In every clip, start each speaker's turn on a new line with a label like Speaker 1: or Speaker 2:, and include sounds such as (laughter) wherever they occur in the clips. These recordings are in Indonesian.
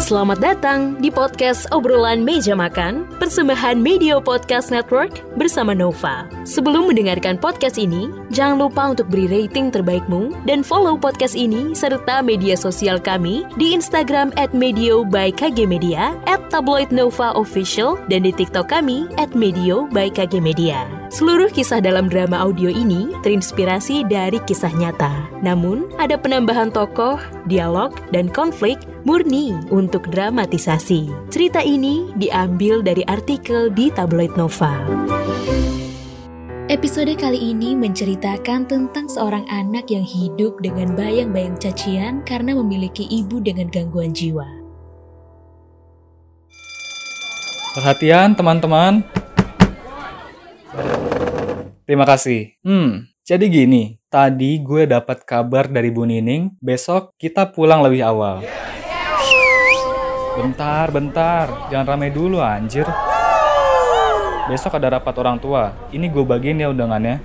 Speaker 1: Selamat datang di podcast obrolan meja makan, persembahan Media Podcast Network bersama Nova. Sebelum mendengarkan podcast ini, jangan lupa untuk beri rating terbaikmu dan follow podcast ini serta media sosial kami di Instagram at Medio by KG Media, at Tabloid Nova Official, dan di TikTok kami at Medio by KG Media. Seluruh kisah dalam drama audio ini terinspirasi dari kisah nyata. Namun, ada penambahan tokoh, dialog, dan konflik murni untuk dramatisasi. Cerita ini diambil dari artikel di tabloid Nova. Episode kali ini menceritakan tentang seorang anak yang hidup dengan bayang-bayang cacian karena memiliki ibu dengan gangguan jiwa.
Speaker 2: Perhatian teman-teman. Terima kasih. Hmm, jadi gini, tadi gue dapat kabar dari Bu Nining, besok kita pulang lebih awal. Bentar, bentar. Jangan ramai dulu anjir. Besok ada rapat orang tua. Ini gue bagiin ya undangannya.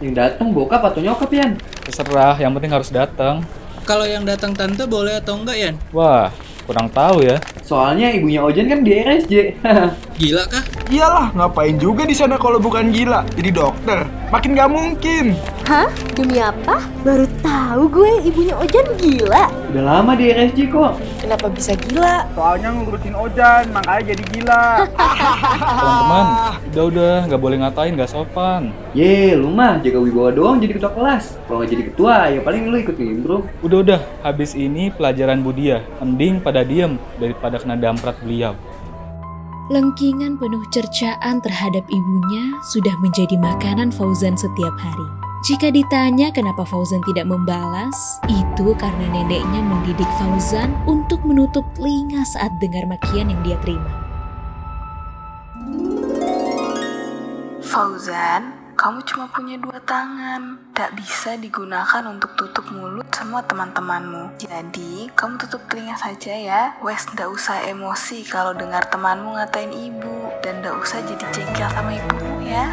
Speaker 3: Yang datang bokap atau nyokap Yan?
Speaker 2: Terserah, yang penting harus datang.
Speaker 4: Kalau yang datang tante boleh atau enggak Yan?
Speaker 2: Wah, kurang tahu ya.
Speaker 3: Soalnya ibunya Ojan kan di RSJ.
Speaker 4: Gila kah?
Speaker 5: Iyalah, ngapain juga di sana kalau bukan gila? Jadi dokter, makin gak mungkin.
Speaker 6: Hah? Demi apa? Baru tahu gue ibunya Ojan gila.
Speaker 3: (laughs) Udah lama di RSJ kok.
Speaker 7: Kenapa bisa gila?
Speaker 5: Soalnya ngurusin Ojan, makanya jadi gila.
Speaker 2: Teman-teman, udah udah, nggak boleh ngatain, nggak sopan.
Speaker 3: Ye, lu mah jaga wibawa doang jadi ketua kelas. Kalau nggak jadi ketua, ya paling lu ikut nimbrung.
Speaker 2: Udah udah, habis ini pelajaran Budia. Mending pada diem daripada kena damprat beliau.
Speaker 1: Lengkingan penuh cercaan terhadap ibunya sudah menjadi makanan Fauzan setiap hari. Jika ditanya kenapa Fauzan tidak membalas, itu karena neneknya mendidik Fauzan untuk menutup telinga saat dengar makian yang dia terima.
Speaker 7: Fauzan, kamu cuma punya dua tangan. Tak bisa digunakan untuk tutup mulut semua teman-temanmu. Jadi, kamu tutup telinga saja ya. Wes, ndak usah emosi kalau dengar temanmu ngatain ibu. Dan ndak usah jadi jengkel sama ibumu ya.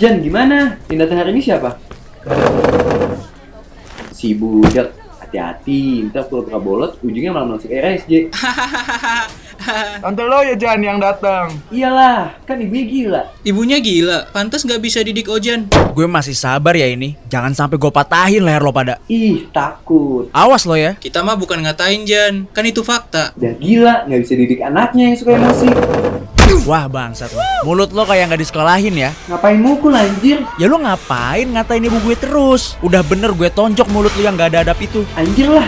Speaker 3: Jan, gimana? Yang datang hari ini siapa? Si budak. Hati-hati, ntar pura-pura bolot, ujungnya malah masuk RSJ.
Speaker 5: (laughs) Tante lo ya Jan yang datang.
Speaker 3: Iyalah, kan ibunya gila.
Speaker 4: Ibunya gila, pantas nggak bisa didik Ojan.
Speaker 8: Gue masih sabar ya ini. Jangan sampai gue patahin leher lo pada.
Speaker 3: Ih, takut.
Speaker 8: Awas lo ya.
Speaker 4: Kita mah bukan ngatain Jan, kan itu fakta.
Speaker 3: Udah gila, nggak bisa didik anaknya yang suka emosi.
Speaker 8: Wah bangsat lo. Mulut lo kayak nggak disekolahin ya.
Speaker 3: Ngapain mukul anjir?
Speaker 8: Ya lo ngapain ngatain ibu gue terus? Udah bener gue tonjok mulut lo yang gak ada adab itu.
Speaker 3: Anjir lah.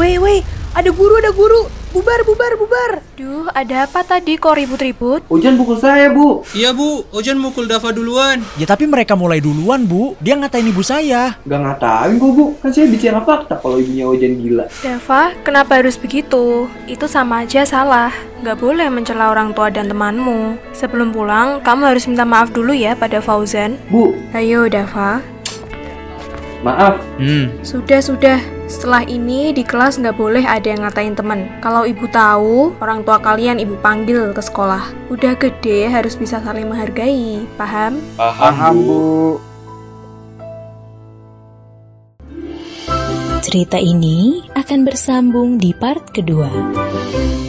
Speaker 6: Wei, wei, ada guru, ada guru. Bubar, bubar, bubar.
Speaker 7: Duh, ada apa tadi kok ribut-ribut?
Speaker 3: Ojan pukul saya, Bu.
Speaker 4: Iya bu, Ojan mukul Dava duluan.
Speaker 8: Ya tapi mereka mulai duluan bu. Dia ngatain ibu saya.
Speaker 3: Gak ngatain kok, Bu. Kan saya bicara fakta kalau ibunya Ojan gila.
Speaker 7: Dava, kenapa harus begitu? Itu sama aja salah. Nggak boleh mencela orang tua dan temanmu. Sebelum pulang, kamu harus minta maaf dulu ya pada Fauzan.
Speaker 3: Bu,
Speaker 7: Ayo, Dava.
Speaker 3: maaf.
Speaker 8: Hmm.
Speaker 7: Sudah, sudah. Setelah ini di kelas nggak boleh ada yang ngatain temen. Kalau ibu tahu, orang tua kalian ibu panggil ke sekolah. Udah gede harus bisa saling menghargai, paham?
Speaker 5: Paham, Bu.
Speaker 1: Cerita ini akan bersambung di part kedua.